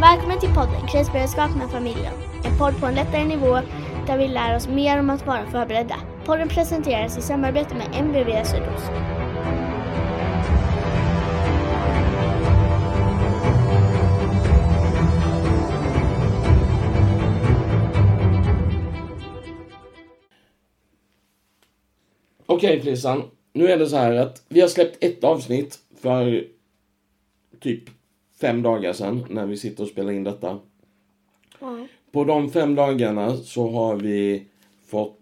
Välkommen till podden Krisberedskap med familjen. En podd på en lättare nivå där vi lär oss mer om att vara förberedda. Podden presenteras i samarbete med MVV Sydost. Okej Flissan, nu är det så här att vi har släppt ett avsnitt för typ fem dagar sedan när vi sitter och spelar in detta. Ja. På de fem dagarna så har vi fått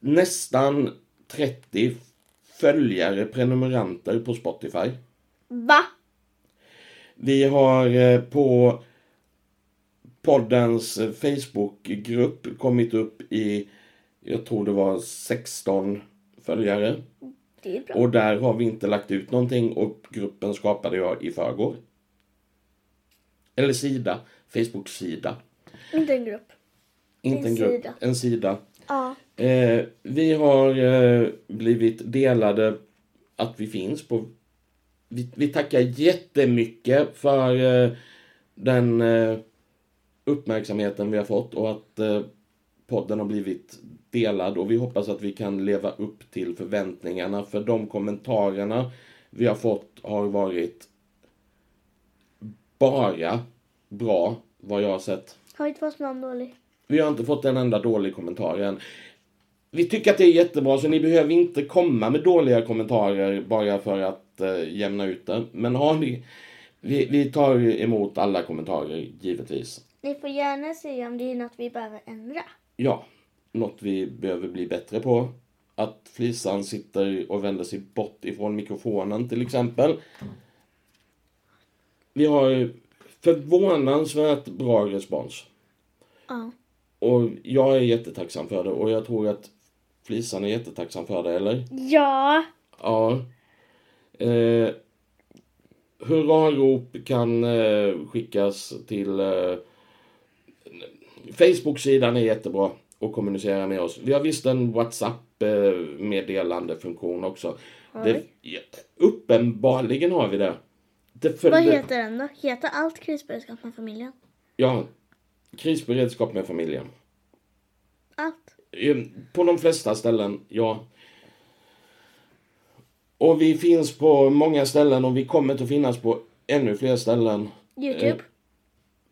nästan 30 följare, prenumeranter på Spotify. Va? Vi har eh, på poddens eh, Facebookgrupp kommit upp i, jag tror det var 16 följare. Det är bra. Och där har vi inte lagt ut någonting och gruppen skapade jag i förrgår. Eller sida, Facebook-sida. Inte en grupp. Inte En en grupp, sida. en sida. Ja. Eh, vi har eh, blivit delade att vi finns på... Vi, vi tackar jättemycket för eh, den eh, uppmärksamheten vi har fått och att eh, podden har blivit delad och vi hoppas att vi kan leva upp till förväntningarna för de kommentarerna vi har fått har varit bara bra vad jag har sett. Har inte fått någon dålig. Vi har inte fått en enda dålig kommentar än. Vi tycker att det är jättebra, så ni behöver inte komma med dåliga kommentarer bara för att eh, jämna ut det. Men har ni... Vi, vi tar emot alla kommentarer, givetvis. Ni får gärna säga om det är något vi behöver ändra. Ja, något vi behöver bli bättre på. Att Flisan sitter och vänder sig bort ifrån mikrofonen, till exempel. Vi har förvånansvärt bra respons. Ja. Och jag är jättetacksam för det och jag tror att Flisan är jättetacksam för det, eller? Ja. Ja. Eh, hurrarop kan eh, skickas till... Eh, Facebook-sidan är jättebra att kommunicera med oss. Vi har visst en WhatsApp-meddelandefunktion också. Det, ja, uppenbarligen har vi det. det för, Vad heter den då? Heter allt krisberedskap med familjen? Ja. Krisberedskap med familjen. Allt? Eh, På de flesta ställen, ja. Och vi finns på många ställen och vi kommer att finnas på ännu fler ställen. Youtube? Eh,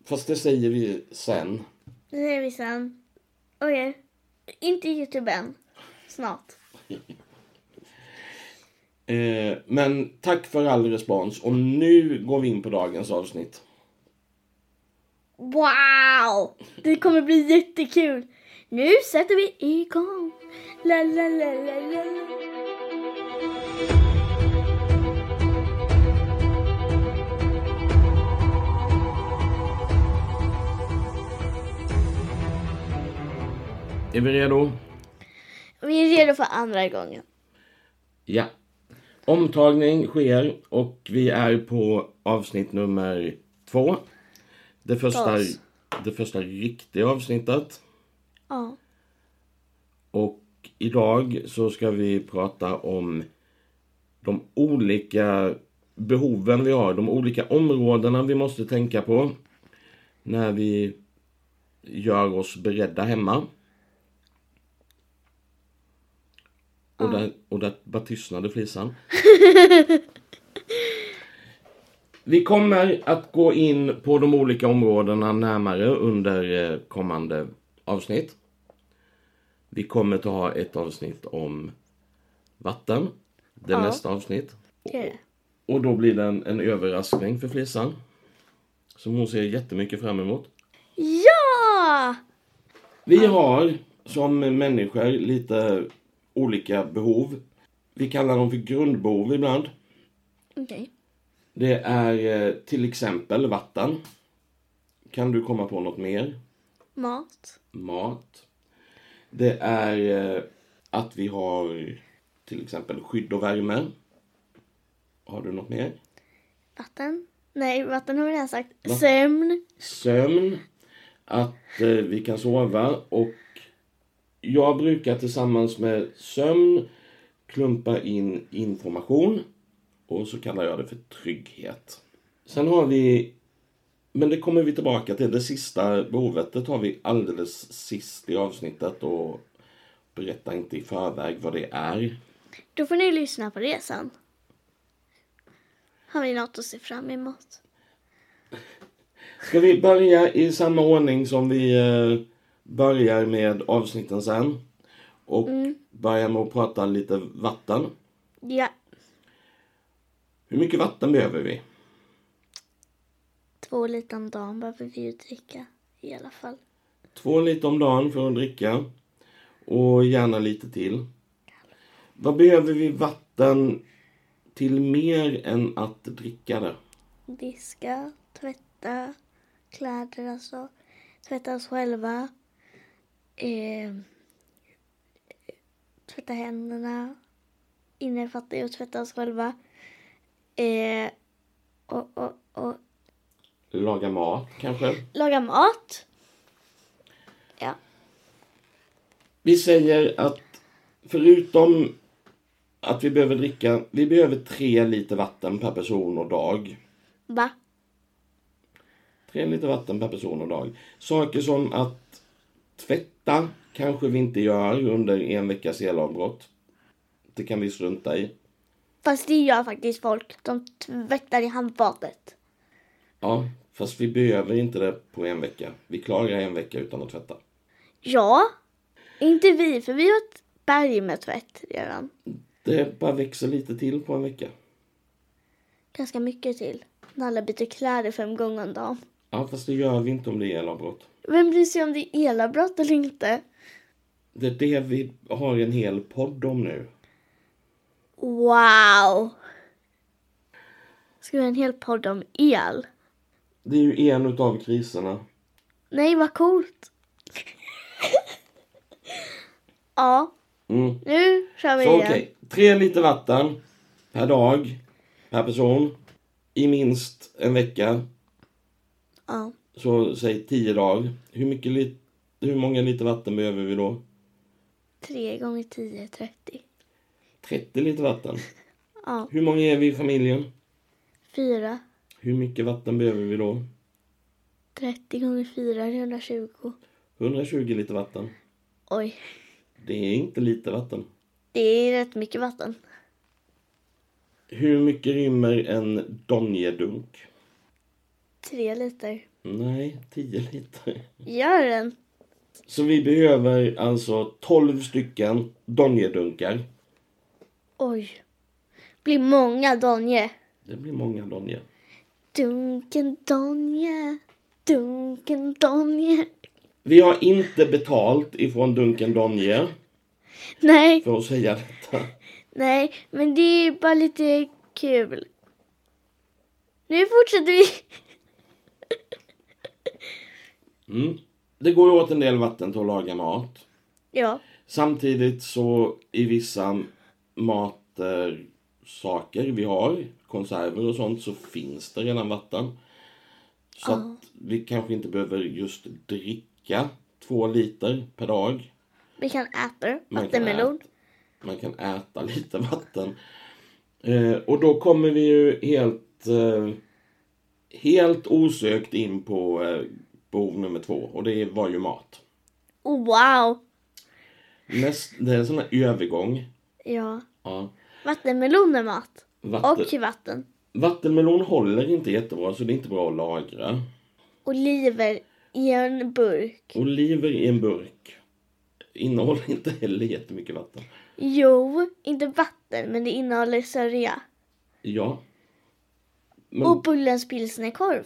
Fast det säger vi sen. Det säger vi sen. Okej. Inte Youtube än. Snart. Eh, Men tack för all respons och nu går vi in på dagens avsnitt. Wow! Det kommer bli jättekul. Nu sätter vi igång. La, la, la, la, la. Är vi redo? Vi är redo för andra gången. Ja. Omtagning sker och vi är på avsnitt nummer två. Det första, Paus. det första riktiga avsnittet. Ja. Och idag så ska vi prata om de olika behoven vi har, de olika områdena vi måste tänka på när vi gör oss beredda hemma. Och där, och där bara tystnade flisan. Vi kommer att gå in på de olika områdena närmare under eh, kommande avsnitt. Vi kommer att ha ett avsnitt om vatten. Det är Ja. nästa avsnitt. Det är det. Och då blir det en, en överraskning för Flissan. Som hon ser jättemycket fram emot. Ja! Vi har som människor lite olika behov. Vi kallar dem för grundbehov ibland. Okej. Det är eh, till exempel vatten. Kan du komma på något mer? Mat. Mat. Det är eh, att vi har till exempel skydd och värme. Har du något mer? Vatten. Nej, vatten har vi redan sagt. Va? Sömn. sömn, att eh, vi kan sova och jag brukar tillsammans med sömn klumpa in information och så kallar jag det för trygghet. Sen har vi, men det kommer vi tillbaka till, det sista bovetet har vi alldeles sist i avsnittet och berätta inte i förväg vad det är. Då får ni lyssna på det sen. Har vi något att se fram emot? Ska vi börja i samma ordning som vi eh, börjar med avsnitten sen? Och börja med att prata lite vatten. Ja, Hur mycket vatten behöver vi? två liter om dagen behöver vi ju dricka i alla fall. Två liter om dagen för att dricka. Och gärna lite till. Vad behöver vi vatten till mer än att dricka det? Diska, tvätta, kläder alltså. Tvätta oss själva. Eh, tvätta händerna. Innefattar ju att tvätta oss själva. Eh, och, och, och Laga mat kanske? laga mat. Ja. Vi säger att förutom att vi behöver dricka, vi behöver tre liter vatten per person och dag. Va? Tre liter vatten per person och dag. Saker som att tvätta kanske vi inte gör under en veckas elavbrott. Det kan vi strunta i. Fast det gör faktiskt folk. De tvättar i handfatet. Ja, fast vi behöver inte det på en vecka. Vi klarar en vecka utan att tvätta. Ja. Inte vi, för vi har ett berg med tvätt redan. Det bara växer lite till på en vecka. Ganska mycket till. När alla byter kläder fem gånger om dagen. Ja, fast det gör vi inte om det är elavbrott. Vem bryr sig om det är elavbrott eller inte? Det är det vi har en hel podd om nu. Wow! Ska vi ha en hel podd om el? Det är ju en utav kriserna. Nej, vad coolt! ja, Mm. nu kör vi Så igen. okej, tre liter vatten per dag, per person, i minst en vecka. Ja. Så säg tio dagar. Hur, mycket lit- hur många liter vatten behöver vi då? 3 gånger 10 är 30. 30 liter vatten. Ja. Hur många är vi i familjen? 4. Hur mycket vatten behöver vi då? 30 gånger 4 är 120. 120 liter vatten. Oj, Det är inte lite vatten. det är rätt mycket vatten. Hur mycket rymmer en donjedunk? 3 liter. Nej, 10 liter. Gör den? Så vi behöver alltså 12 stycken donjedunkar. Oj. Blir många Donje. Det blir många donjer. Dunken Donje. Dunken Donje. Vi har inte betalt ifrån Dunken Donje Nej, för att säga detta. nej, men det är bara lite kul. Nu fortsätter vi. Mm. Det går ju åt en del vatten till att laga mat. Ja, Samtidigt så i vissa matsaker saker vi har, konserver och sånt, så finns det redan vatten. Så att vi kanske inte behöver just dricka två liter per dag. vi kan äta kan vattenmelon. äta- Man kan äta lite vatten. Eh, och då kommer vi ju helt, eh, helt osökt in på eh, behov nummer två och det var ju mat. Oh, wow. Näst, det är en sån här övergång. Ja, Ja. vattenmelon är mat. Vatten, Och vatten. vattenmelon håller inte jättebra så det är inte bra att lagra. Oliver i en burk. Oliver i en burk innehåller inte heller jättemycket vatten. Jo, inte vatten, men det innehåller sörja. Ja. Men Och Bullens pilsnerkorv.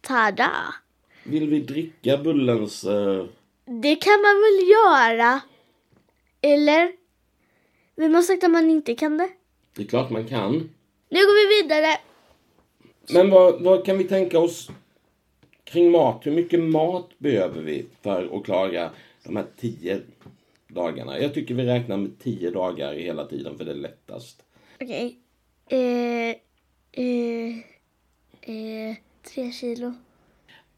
Tada! vill vi dricka Bullens... Eh, Det kan man väl göra? Eller? Vem har sagt att man inte kan det? det är klart man kan. Nu går vi vidare. Men vad, vad kan vi tänka oss kring mat? Hur mycket mat behöver vi för att klara de här tio dagarna? Jag tycker vi räknar med tio dagar hela tiden för det är lättast. Okej. Eh, eh, eh, tre kilo.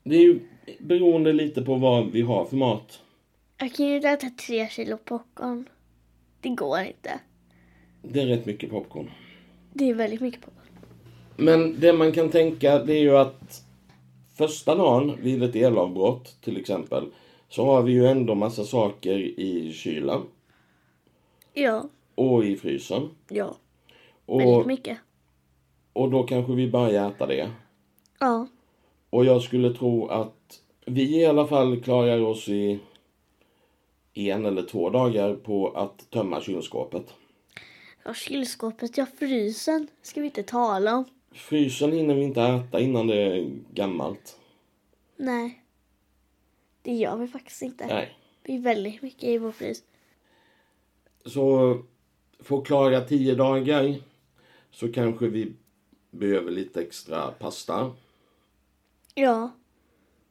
Det är ju beroende lite på vad vi har för mat. Jag kan ju inte äta tre kilo popcorn. Det går inte. Det är rätt mycket popcorn. Det är väldigt mycket popcorn. Men det man kan tänka det är ju att första dagen vid ett elavbrott till exempel så har vi ju ändå massa saker i kylen Ja, och i frysen. ja. Och, Väldigt mycket. och då kanske vi börjar äta det. Ja. Och jag skulle tro att vi i alla fall klarar oss i en eller två dagar på att tömma kylskåpet. Ja, kylskåpet, ja frysen ska vi inte tala om. Frysen hinner vi inte äta innan det är gammalt. Nej. Det gör vi faktiskt inte. Nej. Det är väldigt mycket i vår frys. Så för att klara tio dagar så kanske vi behöver lite extra pasta. Ja,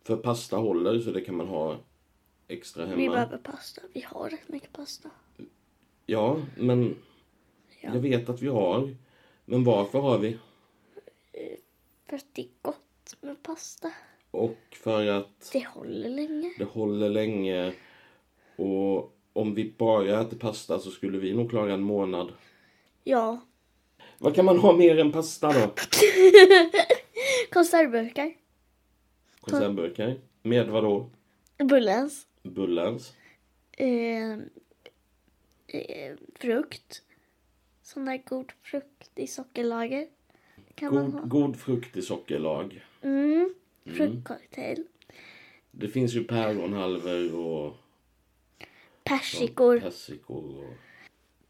För pasta håller så det kan man ha extra vi hemma. behöver pasta. Vi har rätt mycket pasta. Ja, men Ja. jag vet att vi har. Men varför har vi? För att det är gott med pasta. Och för att Det håller länge. det håller länge. Och om vi bara äter pasta så skulle vi nog klara en månad. Ja. Vad kan man ha mer än pasta då? Konservburkar. Konservburkar? Med vad då? Bullens. Bullens? Eh, eh, frukt. Sån där god frukt i sockerlager. Kan man ha. God, god frukt i sockerlag. Mm. Fruktcocktail. Det finns ju päronhalvor och Persikor. persikor. Och...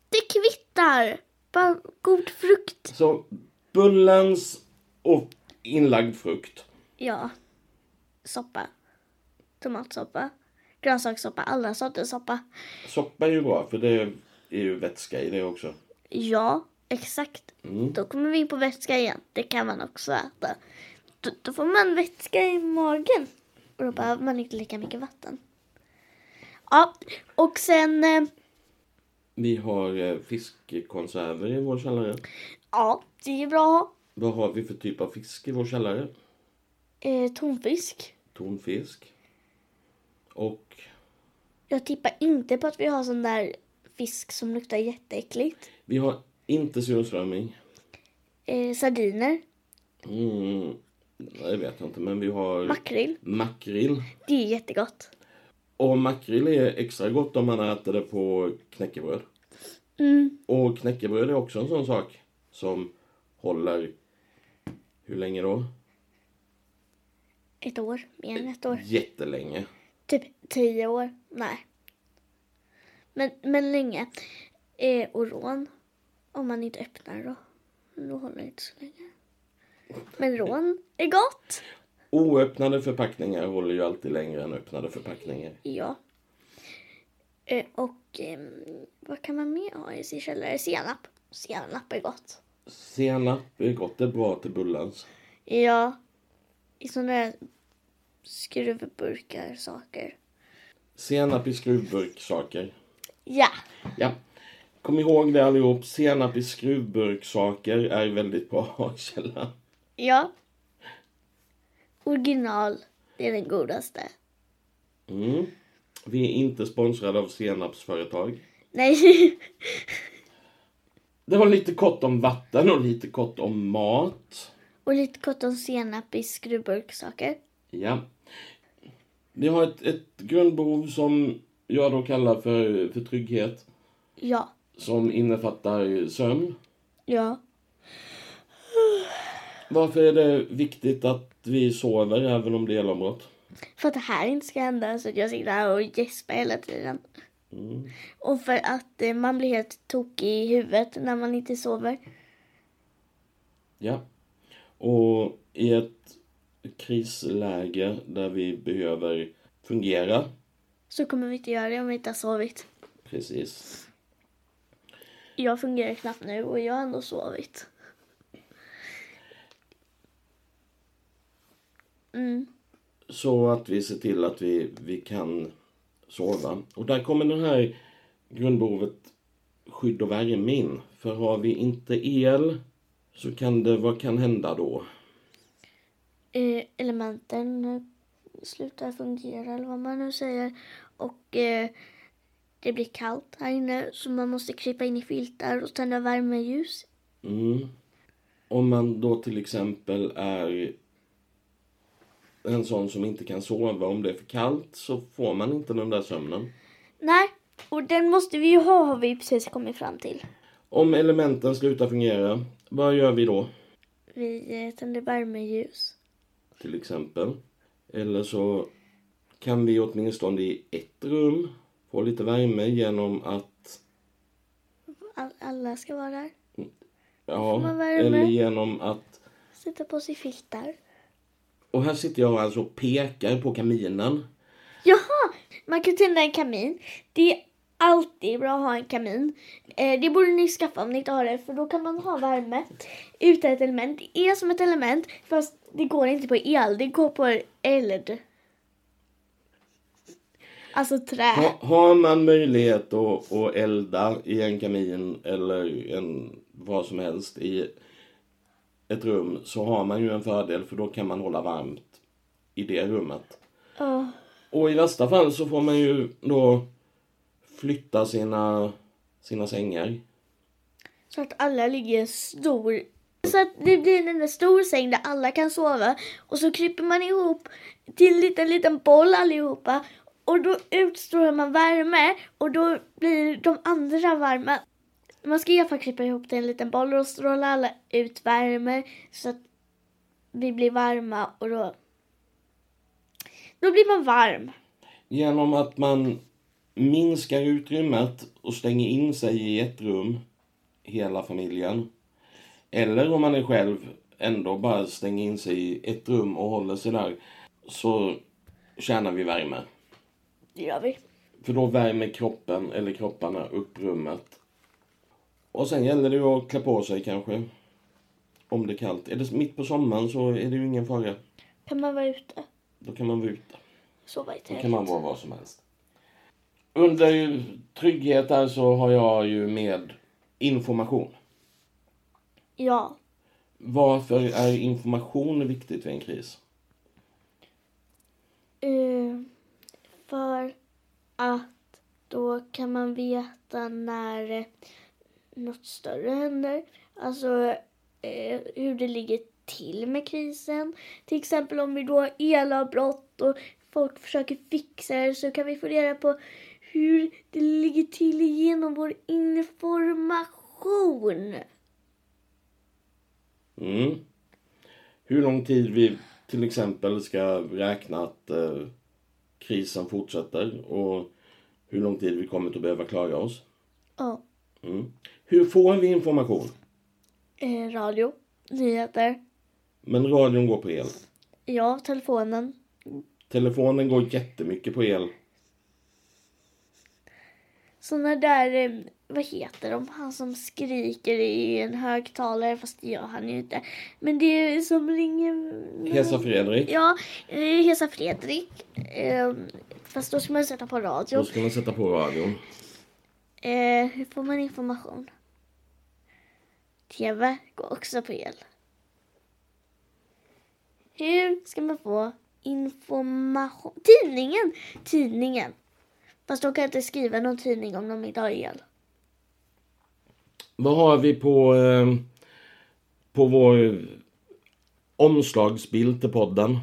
Det kvittar! Bara god frukt. Så bullens och inlagd frukt. Ja. Soppa. Tomatsoppa. Grönsakssoppa. Alla sorters soppa. Soppa är ju bra för det är ju vätska i det också. Ja, exakt. Då kommer vi in på vätska igen. Det kan man också äta. Då, då får man vätska i magen. Och då behöver man inte lika mycket vatten. Ja, och sen... eh, Vi har eh, fiskkonserver i vår källare. Ja, det är bra att ha. Vad har vi för typ av fisk i vår källare? Eh, tonfisk. Tonfisk. Och Jag tippar inte på att vi har sån där fisk som luktar jätteäckligt. vi har inte surströmming. Eh, sardiner. Mm, det vet jag inte men vi har Makrill. makrill. Det är jättegott. Och makrill är extra gott om man äter det på knäckebröd. Mm. Och knäckebröd är också en sån sak som håller hur länge då? Ett år. Mer än ett år. Jättelänge. Typ tio år. Nej. Men, men länge. Eh, och rån. Om man inte öppnar då. Då håller det inte så länge. Men rån är gott. Oöppnade förpackningar håller ju alltid längre än öppnade förpackningar. Ja. Eh, och ehm, vad kan man mer ha i sin källare? Senap. Senap är gott. Senap är gott, det är bra till bullens. Ja. I sådana där skruvburkar saker. Senap i skruvburksaker. Ja. Ja. Kom ihåg det allihop, senap i skruvburksaker är väldigt bra att ha i källaren. Ja. Original. Det är den godaste. Mm. Vi är inte sponsrade av senapsföretag. Nej. Det var lite kort om vatten och lite kort om mat. Och lite kort om senap i skruvburksaker. Ja. Vi har ett, ett grundbehov som jag då kallar för, för trygghet. Ja. Som innefattar sömn. Ja. Varför är det viktigt att vi sover även om det är elavbrott? För att det här inte ska hända så att jag sitter här och gäspar hela tiden. Och för att eh, man blir helt tokig i huvudet när man inte sover. Ja. Och i ett krisläge där vi behöver fungera. Så kommer vi inte göra det om vi inte har sovit. Precis. Jag fungerar knappt nu och jag har ändå sovit. Mm. Så att vi ser till att vi, vi kan sova. Och där kommer det här grundbehovet skydd och värme in. För har vi inte el så kan det, vad kan hända då? eh, elementen eh, slutar fungera eller vad man nu säger. Och eh, det blir kallt här inne så man måste krypa in i filtar och tända värmeljus. Mm. om man då till exempel är en sån som inte kan sova om det är för kallt så får man inte den där sömnen. Nej, och den måste vi ju ha har vi precis kommit fram till. Om elementen slutar fungera, vad gör vi då? Vi eh, tänder värmeljus. Till exempel. Eller så kan vi åtminstone i ett rum få lite värme genom att All, alla ska vara där. Får Ja, man värme? eller genom att... Sätta på sig filtar. Och här sitter jag alltså och pekar på kaminen. Jaha! Man kan tända en kamin. Det är alltid bra att ha en kamin. Eh, det borde ni skaffa om ni inte har det, för då kan man ha värme utan ett element. Det är som ett element, fast det går inte på el, det går på eld. Alltså trä. Ha, har man möjlighet att, att elda i en kamin eller en, vad som helst i ett rum så har man ju en fördel för då kan man hålla varmt i det rummet. Ja. Och i värsta fall så får man ju då flytta sina, sina sängar. Så att alla ligger i en stor... Så att det blir en enda stor säng där alla kan sova. Och så kryper man ihop till en liten, liten boll allihopa. Och då utstrålar man värme och då blir de andra varma. Man ska i alla fall krypa ihop till en liten boll och då strålar alla ut värme så att vi blir varma och då... Då blir man varm. Genom att man minskar utrymmet och stänger in sig i ett rum, hela familjen. Eller om man är själv, ändå bara stänger in sig i ett rum och håller sig där. Så tjänar vi värme. Det gör vi. För då värmer kroppen, eller kropparna, upp rummet. Och sen gäller det ju att klä på sig kanske. Om det är kallt. Är det mitt på sommaren så är det ju ingen fara. Kan man vara ute Då kan man vara ute. och sova i Då tält. kan man vara vad som helst. Under ju trygghet där så har jag ju med information. Ja. Varför är information viktigt vid en kris? Eh, för att då kan man veta när eh, något större händer. Alltså eh, hur det ligger till med krisen. Till exempel om vi då har elavbrott och folk försöker fixa det så kan vi få reda på hur det ligger till genom vår information. Mm. Hur lång tid vi till exempel ska räkna att eh, krisen fortsätter och hur lång tid vi kommer att behöva klara oss. Ja, Mm. Hur får vi information? eh, radio, nyheter, Men radion går på el. ja, telefonen. Telefonen går jättemycket på el. Såna där, eh, vad heter de, han som skriker i en högtalare, fast det gör han ju inte. Men det är som ringer... Hesa Fredrik. Ja, eh, Hesa Fredrik. Eh, Fast då ska man sätta på radio. Då ska man sätta på radion. Eh, hur får man information? TV går också på el. Hur ska man få information? Tidningen! Tidningen. Fast de kan inte skriva någon tidning om de inte har el. Vad har vi på, eh, på vår omslagsbild till podden?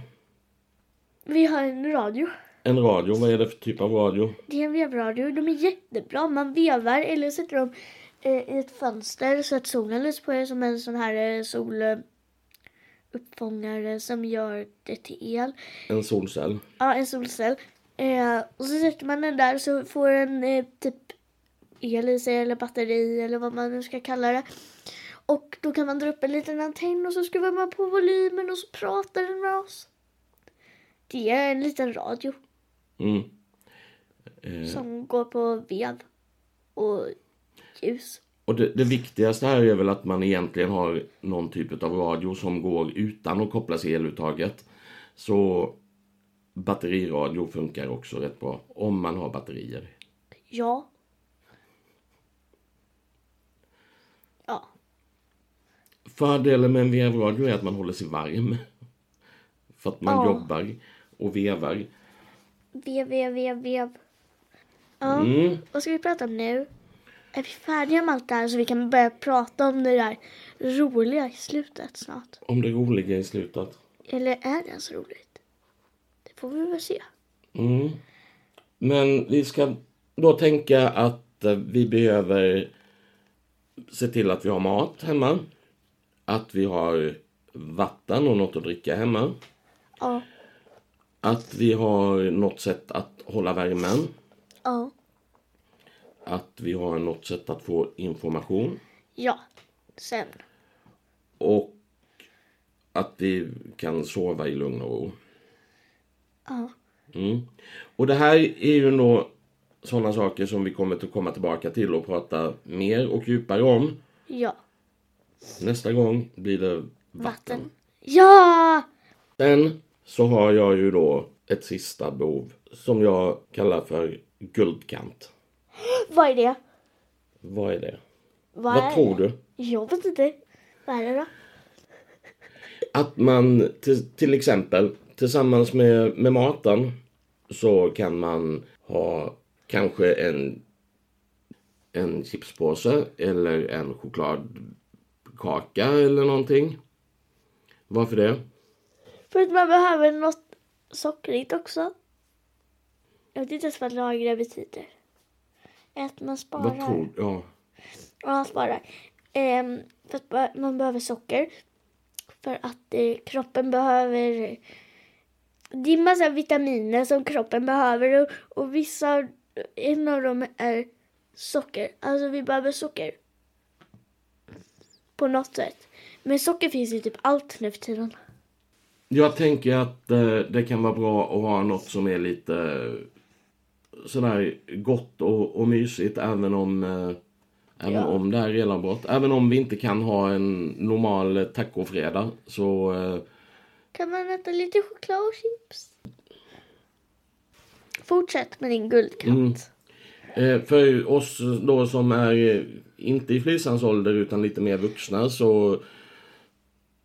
Vi har en radio. En radio. Vad är det för typ av radio? Det är en vevradio. De är jättebra. Man vevar eller sätter dem eh, i ett fönster så att solen lyser på er som en sån här eh, soluppfångare som gör det till el. En solcell. Ja, en solcell. Eh, och så sätter man den där så får den eh, typ el i sig eller batteri eller vad man nu ska kalla det. Och då kan man dra upp en liten antenn och så skruvar man på volymen och så pratar den med oss. Det är en liten radio. Mm. Eh, Som går på vev och ljus. och det, det viktigaste här är väl att man egentligen har någon typ av radio som går utan att kopplas i eluttaget. Så batteriradio funkar också rätt bra. Om man har batterier. Ja. Ja. Fördelen med en vevradio är att man håller sig varm. För att man Ja. jobbar och vevar. Vev, vev, vev, vev. Ja. Mm. Vad ska vi prata om nu? Är vi färdiga med allt det här så vi kan börja prata om det där roliga i slutet snart? Om det roliga i slutet. Eller är det ens roligt? Det får vi väl se. Mm. Men vi ska då tänka att eh, vi behöver se till att vi har mat hemma. Att vi har vatten och något att dricka hemma. Ja. Att vi har något sätt att hålla värmen. Ja. Att vi har något sätt att få information. Ja. Sen. Och att vi kan sova i lugn och ro. Ja. Mm. Och det här är ju då sådana saker som vi kommer att komma tillbaka till och prata mer och djupare om. Ja. Nästa gång blir det vatten. Vatten. Ja! Sen så har jag ju då ett sista behov som jag kallar för guldkant. Vad är det? Vad är det? Vad, Vad tror du? Jag vet inte. Vad är det då? Att man till, till exempel tillsammans med, med maten så kan man ha kanske en, en chipspåse eller en chokladkaka eller någonting. Varför det? För att man behöver något sockrigt också. Jag vet inte ens vad lagra betyder. Att man sparar. Vad tror du? Ja. Ja, man sparar. Ehm, för att ba- man behöver socker. För att eh, kroppen behöver... Det är en massa vitaminer som kroppen behöver och, och vissa av, en av dem är socker. Alltså vi behöver socker. På något sätt. Men socker finns ju typ allt nu för tiden. Jag tänker att eh, det kan vara bra att ha något som är lite eh, sådär gott och, och mysigt även om eh, Även Ja. om det här är elavbrott. Även om vi inte kan ha en normal eh, tacofredag så eh, Kan man äta lite choklad och chips? Fortsätt med din guldkant. Mm. Eh, För oss då som är eh, inte i flysans ålder utan lite mer vuxna så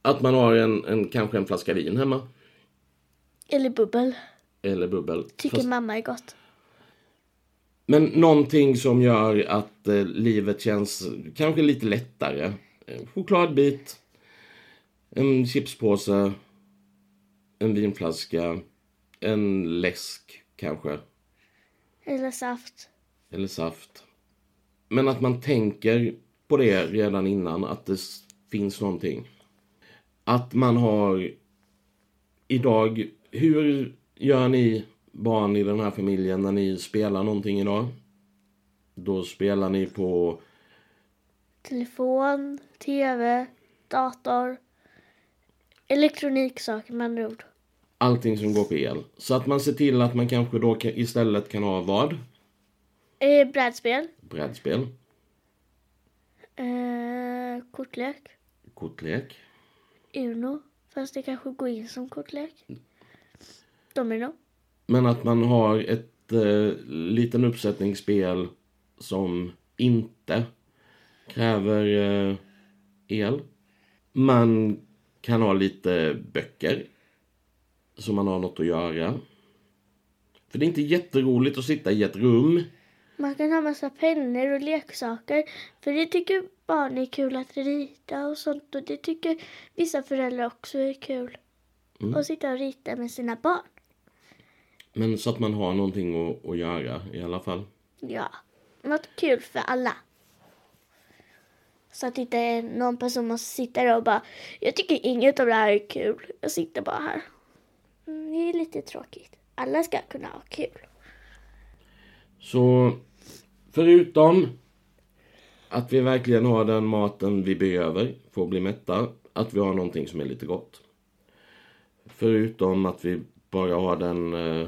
att man har en, en kanske en flaska vin hemma Eller bubbel. eller bubbel. Tycker Fast- mamma är gott. Men någonting som gör att eh, livet känns kanske lite lättare. En chokladbit, en chipspåse, en vinflaska, en läsk kanske. Eller saft. eller saft. Men att man tänker på det redan innan, att det s- finns någonting. Att man har idag, hur gör ni barn i den här familjen när ni spelar någonting idag? Då spelar ni på, Telefon, tv, dator. Elektroniksaker med andra ord. allting som går på el. Så att man ser till att man kanske då ka- istället kan ha vad? Eh, brädspel. Brädspel, Eh, kortlek. kortlek, Uno. Fast det kanske går in som kortlek. Domino. Men att man har ett eh, liten uppsättning spel som inte kräver eh, el. Man kan ha lite böcker. Så man har något att göra. För det är inte jätteroligt att sitta i ett rum. Man kan ha massa pennor och leksaker. För det tycker barn är kul att rita och sånt. Och det tycker vissa föräldrar också är kul. Att sitta och rita med sina barn. Men så att man har någonting att, att göra i alla fall. Ja. Något kul för alla. Så att inte någon person måste sitta där och bara Jag tycker inget av det här är kul. Jag sitter bara här. Mm, det är lite tråkigt. Alla ska kunna ha kul. Så förutom att vi verkligen har den maten vi behöver för att bli mätta, att vi har någonting som är lite gott. Förutom att vi bara har den, eh,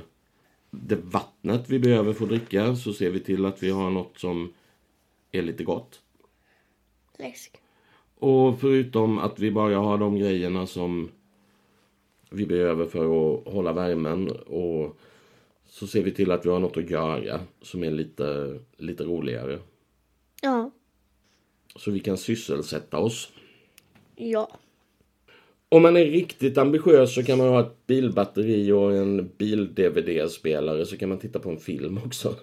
det vattnet vi behöver för att dricka så ser vi till att vi har något som är lite gott. Läsk. Och förutom att vi bara har de grejerna som vi behöver för att hålla värmen och så ser vi till att vi har något att göra som är lite, lite roligare. Ja. Så vi kan sysselsätta oss. Ja. Om man är riktigt ambitiös så kan man ha ett bilbatteri och en bil-DVD-spelare så kan man titta på en film också.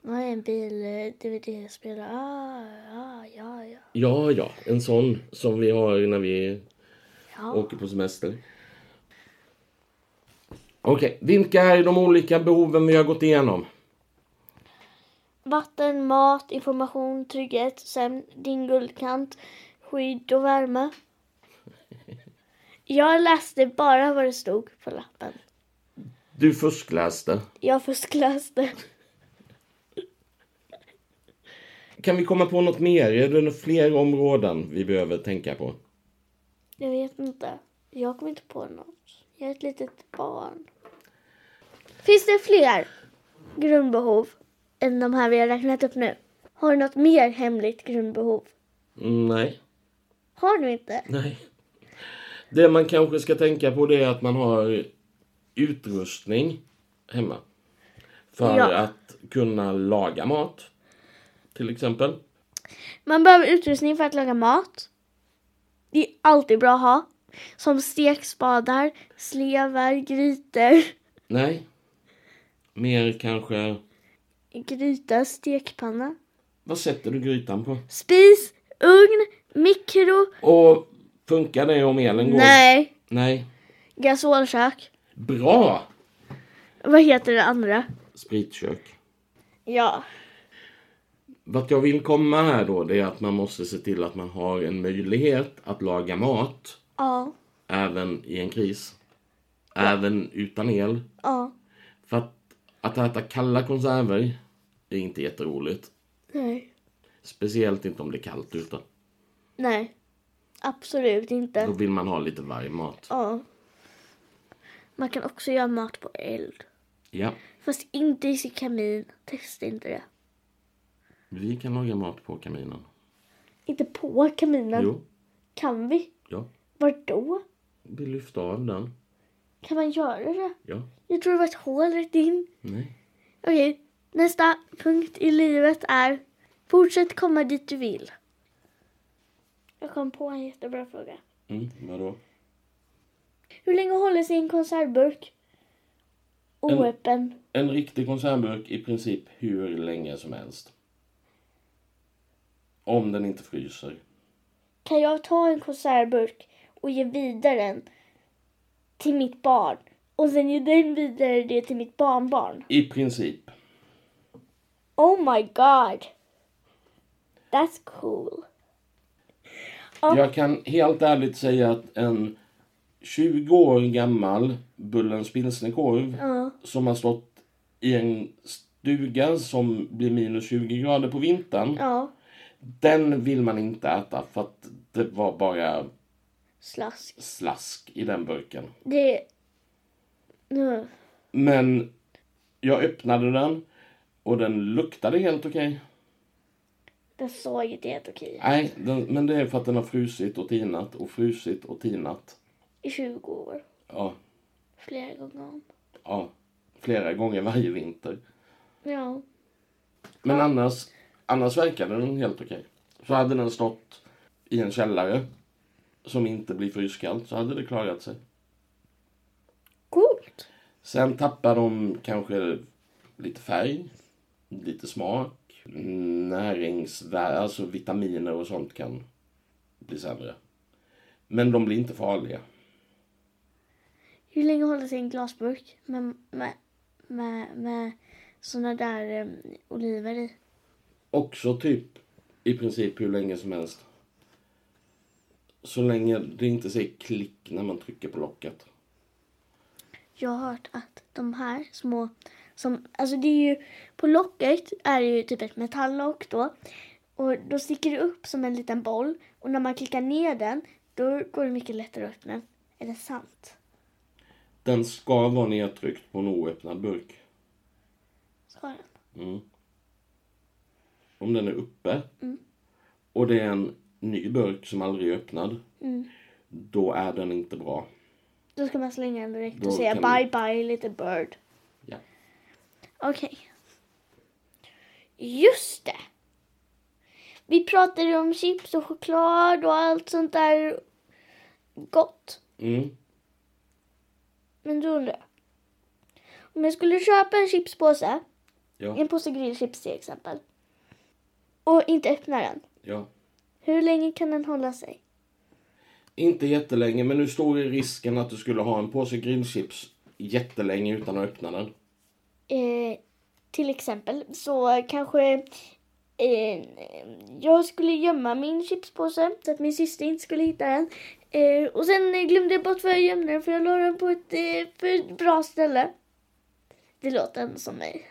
Var det en eh, bil-DVD-spelare? Ah, ja, ja, ja. Ja, ja, en sån som vi har när vi ja. åker på semester. Okej, vilka är de olika behoven vi har gått igenom? Vatten, mat, information, trygghet, sömn, din guldkant, skydd och värme. Jag läste bara vad det stod på lappen. Du fuskläste. Jag fuskläste. Kan vi komma på något mer? Är det några fler områden vi behöver tänka på? Jag vet inte. Jag kommer inte på något. Jag är ett litet barn. Finns det fler grundbehov än de här vi har räknat upp nu? Har du något mer hemligt grundbehov? Mm, Nej. Har du inte? Nej. Det man kanske ska tänka på det är att man har utrustning hemma. För Ja. att kunna laga mat. Till exempel. Man behöver utrustning för att laga mat. Det är alltid bra att ha. Som stekspadar, slevar, grytor. Nej. Mer kanske... Gryta, stekpanna. Vad sätter du grytan på? Spis, ugn, mikro. Och funkar det om elen går? Nej. Nej. Gasolkök. Bra! Vad heter det andra? Spritkök. Ja. Vart jag vill komma här då, det är att man måste se till att man har en möjlighet att laga mat Ja. även i en kris. Även utan el. Ja. För att, att äta kalla konserver är inte jätteroligt. Nej. Speciellt inte om det är kallt ute. Nej. Absolut Då inte. vill man ha lite varm mat. Ja. Man kan också göra mat på eld. Ja, Fast inte i sin kamin. Testa inte det. vi kan laga mat på kaminen. Inte på kaminen. Jo, Kan vi? ja. Var då? Vi lyfter av den. Kan man göra det? Ja, Jag tror det var ett hål rätt in. nej. Okej, nästa punkt i livet är fortsätt komma dit du vill. Jag kom på en jättebra fråga. Mm, vadå? Hur länge håller sig en konservburk oöppen? En riktig konservburk i princip hur länge som helst. Om den inte fryser. Kan jag ta en konservburk och ge vidare den till mitt barn och sen ge den vidare det till mitt barnbarn? I princip. Oh my god! That's cool. Ja. Jag kan helt ärligt säga att en 20 år gammal Bullens pilsnerkorv Ja. som har stått i en stuga som blir minus 20 grader på vintern. Ja, Den vill man inte äta för att det var bara slask. slask i den burken. Det... Nu. Men jag öppnade den och den luktade helt okej. Den såg inte helt okej ut. Nej, den, men det är för att den har frusit och tinat och frusit och tinat. I 20 år. Ja, Flera gånger om. ja. Flera gånger varje vinter. Ja. Men annars, annars verkade den helt okej. Så hade den stått i en källare som inte blir fryskallt så hade det klarat sig. Coolt. Sen tappar de kanske lite färg, lite smak, näringsvärde, alltså vitaminer och sånt kan bli sämre. Men de blir inte farliga. Hur länge håller sig en glasburk med, med, med, med såna där um, oliver i? också typ i princip hur länge som helst. Så länge det inte säger klick när man trycker på locket. Jag har hört att de här små som, alltså det är ju, på locket är det ju typ ett metalllock då. Och då sticker det upp som en liten boll. Och när man klickar ner den, då går det mycket lättare att öppna den. Är det sant? Den ska vara nedtryckt på en oöppnad burk. Ska den? Mm. Om den är uppe och det är en ny burk som aldrig är öppnad, Mm. då är den inte bra. Då ska man slänga den direkt Då och säga kan bye vi- bye little bird. Ja. Okej. Just det. Vi pratade ju om chips och choklad och allt sånt där gott. Mm. Men då undrar jag. Om jag skulle köpa en chipspåse Ja, En påse grillchips till exempel. Och inte öppna den. ja. Hur länge kan den hålla sig? Inte jättelänge, men nu står ju risken att du skulle ha en påse grillchips jättelänge utan att öppna den. Eh, till exempel så kanske eh, jag skulle gömma min chipspåse så att min syster inte skulle hitta den. Eh, och sen eh, glömde jag bort var jag gömde den för jag la den på ett eh, för bra ställe. Det låter ändå som mig.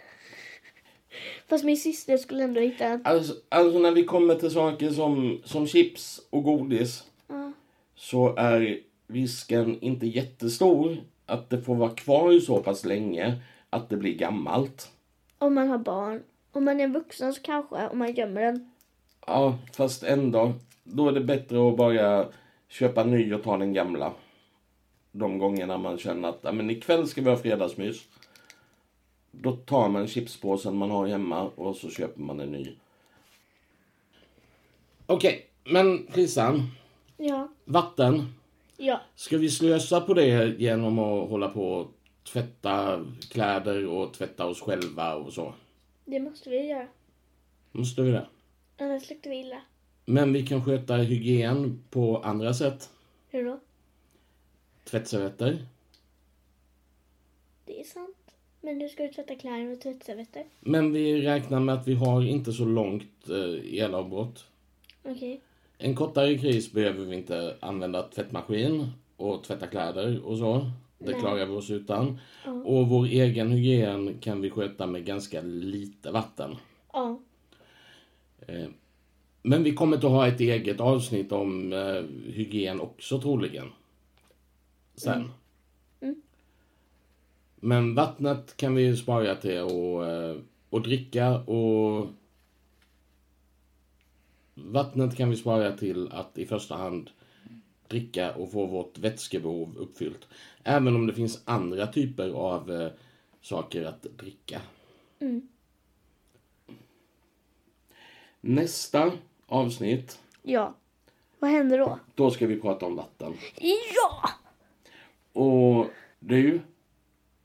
Fast min syster skulle ändå hitta den. Alltså, alltså när vi kommer till saker som, som chips och godis Ja. så är risken inte jättestor att det får vara kvar så pass länge att det blir gammalt. Om man har barn. Om man är en vuxen så kanske, om man gömmer den. Ja, fast ändå. Då är det bättre att bara köpa ny och ta den gamla. De gångerna man känner att "Ja, men ikväll ska vi ha fredagsmys. Då tar man chipspåsen man har hemma och så köper man en ny. Okej, men Prisan. Ja. Vatten. Ja. Ska vi slösa på det genom att hålla på och tvätta kläder och tvätta oss själva och så? Det måste vi göra. Måste vi det? Annars luktar vi illa. Men vi kan sköta hygien på andra sätt. Hur då? Tvättservetter. Det är sant. Men nu ska du tvätta kläder med tvättservetter. Men vi räknar med att vi har inte så långt eh, elavbrott. Okej. En kortare kris behöver vi inte använda tvättmaskin och tvätta kläder och så. Det Nej. klarar vi oss utan. Och vår egen hygien kan vi sköta med ganska lite vatten. Ja. Eh, Men vi kommer att ha ett eget avsnitt om eh, hygien också troligen. Sen. Men vattnet kan vi ju spara till och, eh, och dricka och vattnet kan vi spara till att i första hand dricka och få vårt vätskebehov uppfyllt. Även om det finns andra typer av eh, saker att dricka. Nästa avsnitt, Ja. Vad händer då? då ska vi prata om vatten. Ja! Och du,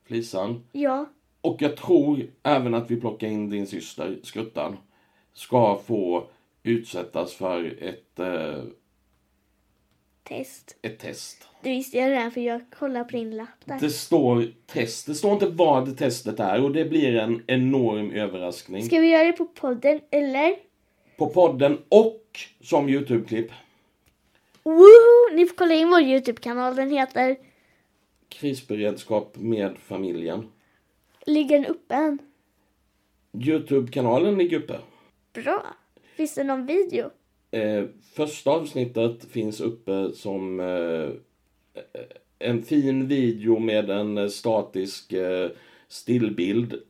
Flisan, Ja. och jag tror även att vi plockar in din syster, Skuttan, ska få utsättas för ett, eh, Test. ett test. Det visste jag redan för jag kollar på din lapp där. Det står test. Det står inte vad testet är och det blir en enorm överraskning. Ska vi göra det på podden eller? På podden och som Youtube-klipp. Woohoo! Ni får kolla in vår Youtube-kanal. Den heter Krisberedskap med familjen. Ligger den uppe än? Youtube-kanalen ligger uppe. Bra. Finns det någon video? Eh, första avsnittet finns uppe som eh, en fin video med en eh, statisk eh, stillbild.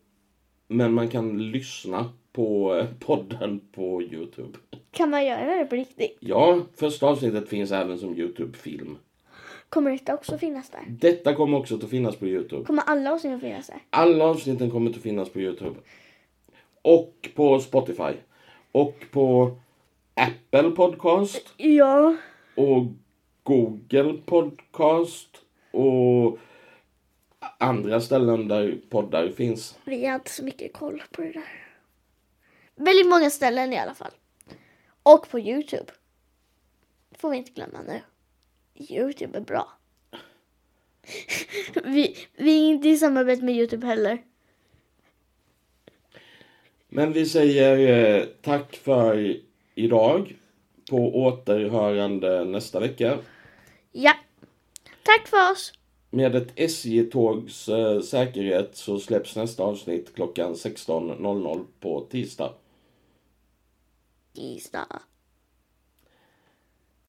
Men man kan lyssna på eh, podden på Youtube. Kan man göra det på riktigt? Ja, första avsnittet finns även som Youtube-film. Kommer detta också finnas där? Detta kommer också att finnas på Youtube. Kommer alla avsnitt att finnas där? Alla avsnitten kommer att finnas på Youtube. Och på Spotify. Och på Apple Podcast. Ja. och Google Podcast och andra ställen där poddar finns. Vi har inte så mycket koll på det där. Väldigt många ställen i alla fall. Och på Youtube. Det får vi inte glömma nu. Youtube är bra. vi, vi är inte i samarbete med Youtube heller. Men vi säger eh, tack för idag. På återhörande nästa vecka Ja. Tack för oss. Med ett SJ-tågs eh, säkerhet så släpps nästa avsnitt klockan 16.00 på tisdag. Tisdag.